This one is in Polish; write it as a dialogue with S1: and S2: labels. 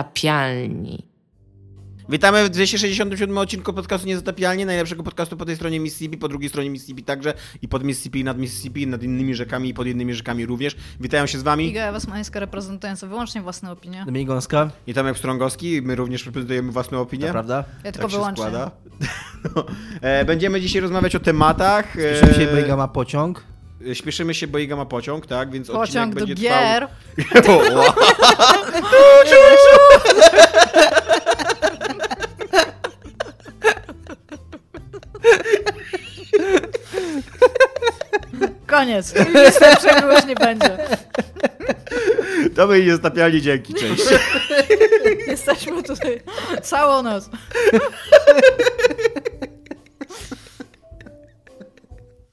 S1: Niezatapialni.
S2: Witamy w 267 odcinku podcastu Niezatapialnie, najlepszego podcastu po tej stronie Mississippi, po drugiej stronie Mississippi także i pod Mississippi, i nad Mississippi, i nad innymi rzekami i pod innymi rzekami również. Witają się z wami
S3: Iga Wasmańska reprezentująca wyłącznie własne opinie.
S4: Dominik Gąska,
S2: i Tomek Strągowski, my również reprezentujemy własną opinię.
S4: prawda?
S3: Ja tylko
S2: Tak się
S3: wyłącznie.
S2: składa. No. E, Będziemy dzisiaj rozmawiać o tematach. e,
S4: Słyszymy się, Bejga ma pociąg.
S2: Śpieszymy się, bo Iga ma pociąg, tak? Więc odcinek
S3: Pociąg do
S2: będzie
S3: gier.
S2: trwał... O,
S3: Koniec. Nic lepszego już nie będzie.
S2: To my niezatapialni, dzięki, cześć.
S3: Jesteśmy tutaj całą noc.